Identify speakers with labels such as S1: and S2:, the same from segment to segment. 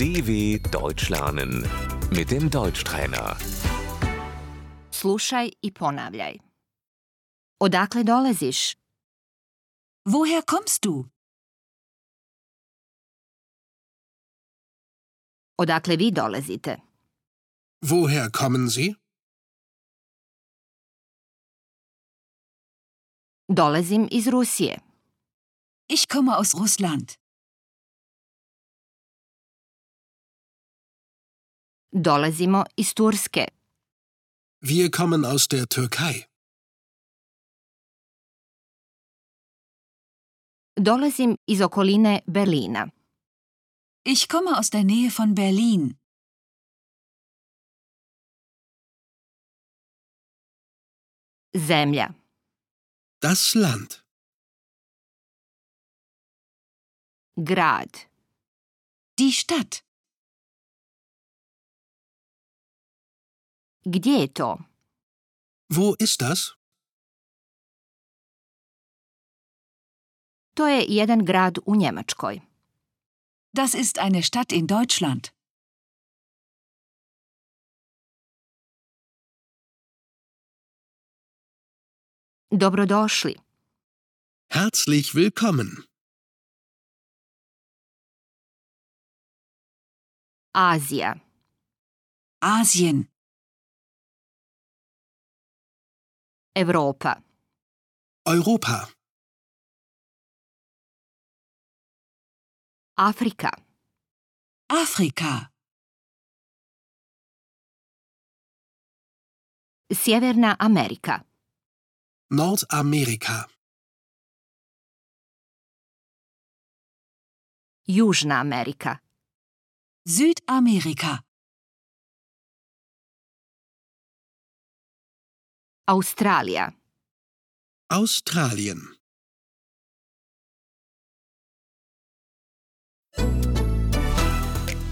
S1: DW Deutsch lernen mit dem Deutschtrainer.
S2: Slušaj i ponavljaj. Odakle dolaziš?
S3: Woher kommst du?
S2: Odakle vi dolazite?
S4: Woher kommen Sie?
S2: Dolazim iz Rusije.
S3: Ich komme aus Russland.
S2: Dolazimo iz Turske.
S4: Wir kommen aus der Türkei.
S2: Dolazim iz okoline Berlina.
S3: Ich komme aus der Nähe von Berlin.
S2: Zemlja.
S4: Das Land.
S2: Grad.
S3: Die Stadt.
S2: Gdje je to?
S4: Wo ist das?
S2: To je jedan grad u Njemačkoj.
S3: Das ist eine Stadt in Deutschland.
S2: Dobrodošli.
S4: Herzlich willkommen.
S2: Azija.
S3: Asien.
S2: Europa.
S4: Europa.
S2: Afrika.
S3: Afrika.
S2: Sjeverna Amerika.
S4: Nordamerika.
S2: Južna Amerika.
S3: Südamerika.
S2: Australija.
S4: Australien.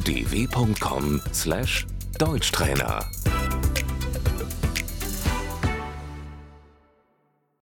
S1: dw.com/deutschtrainer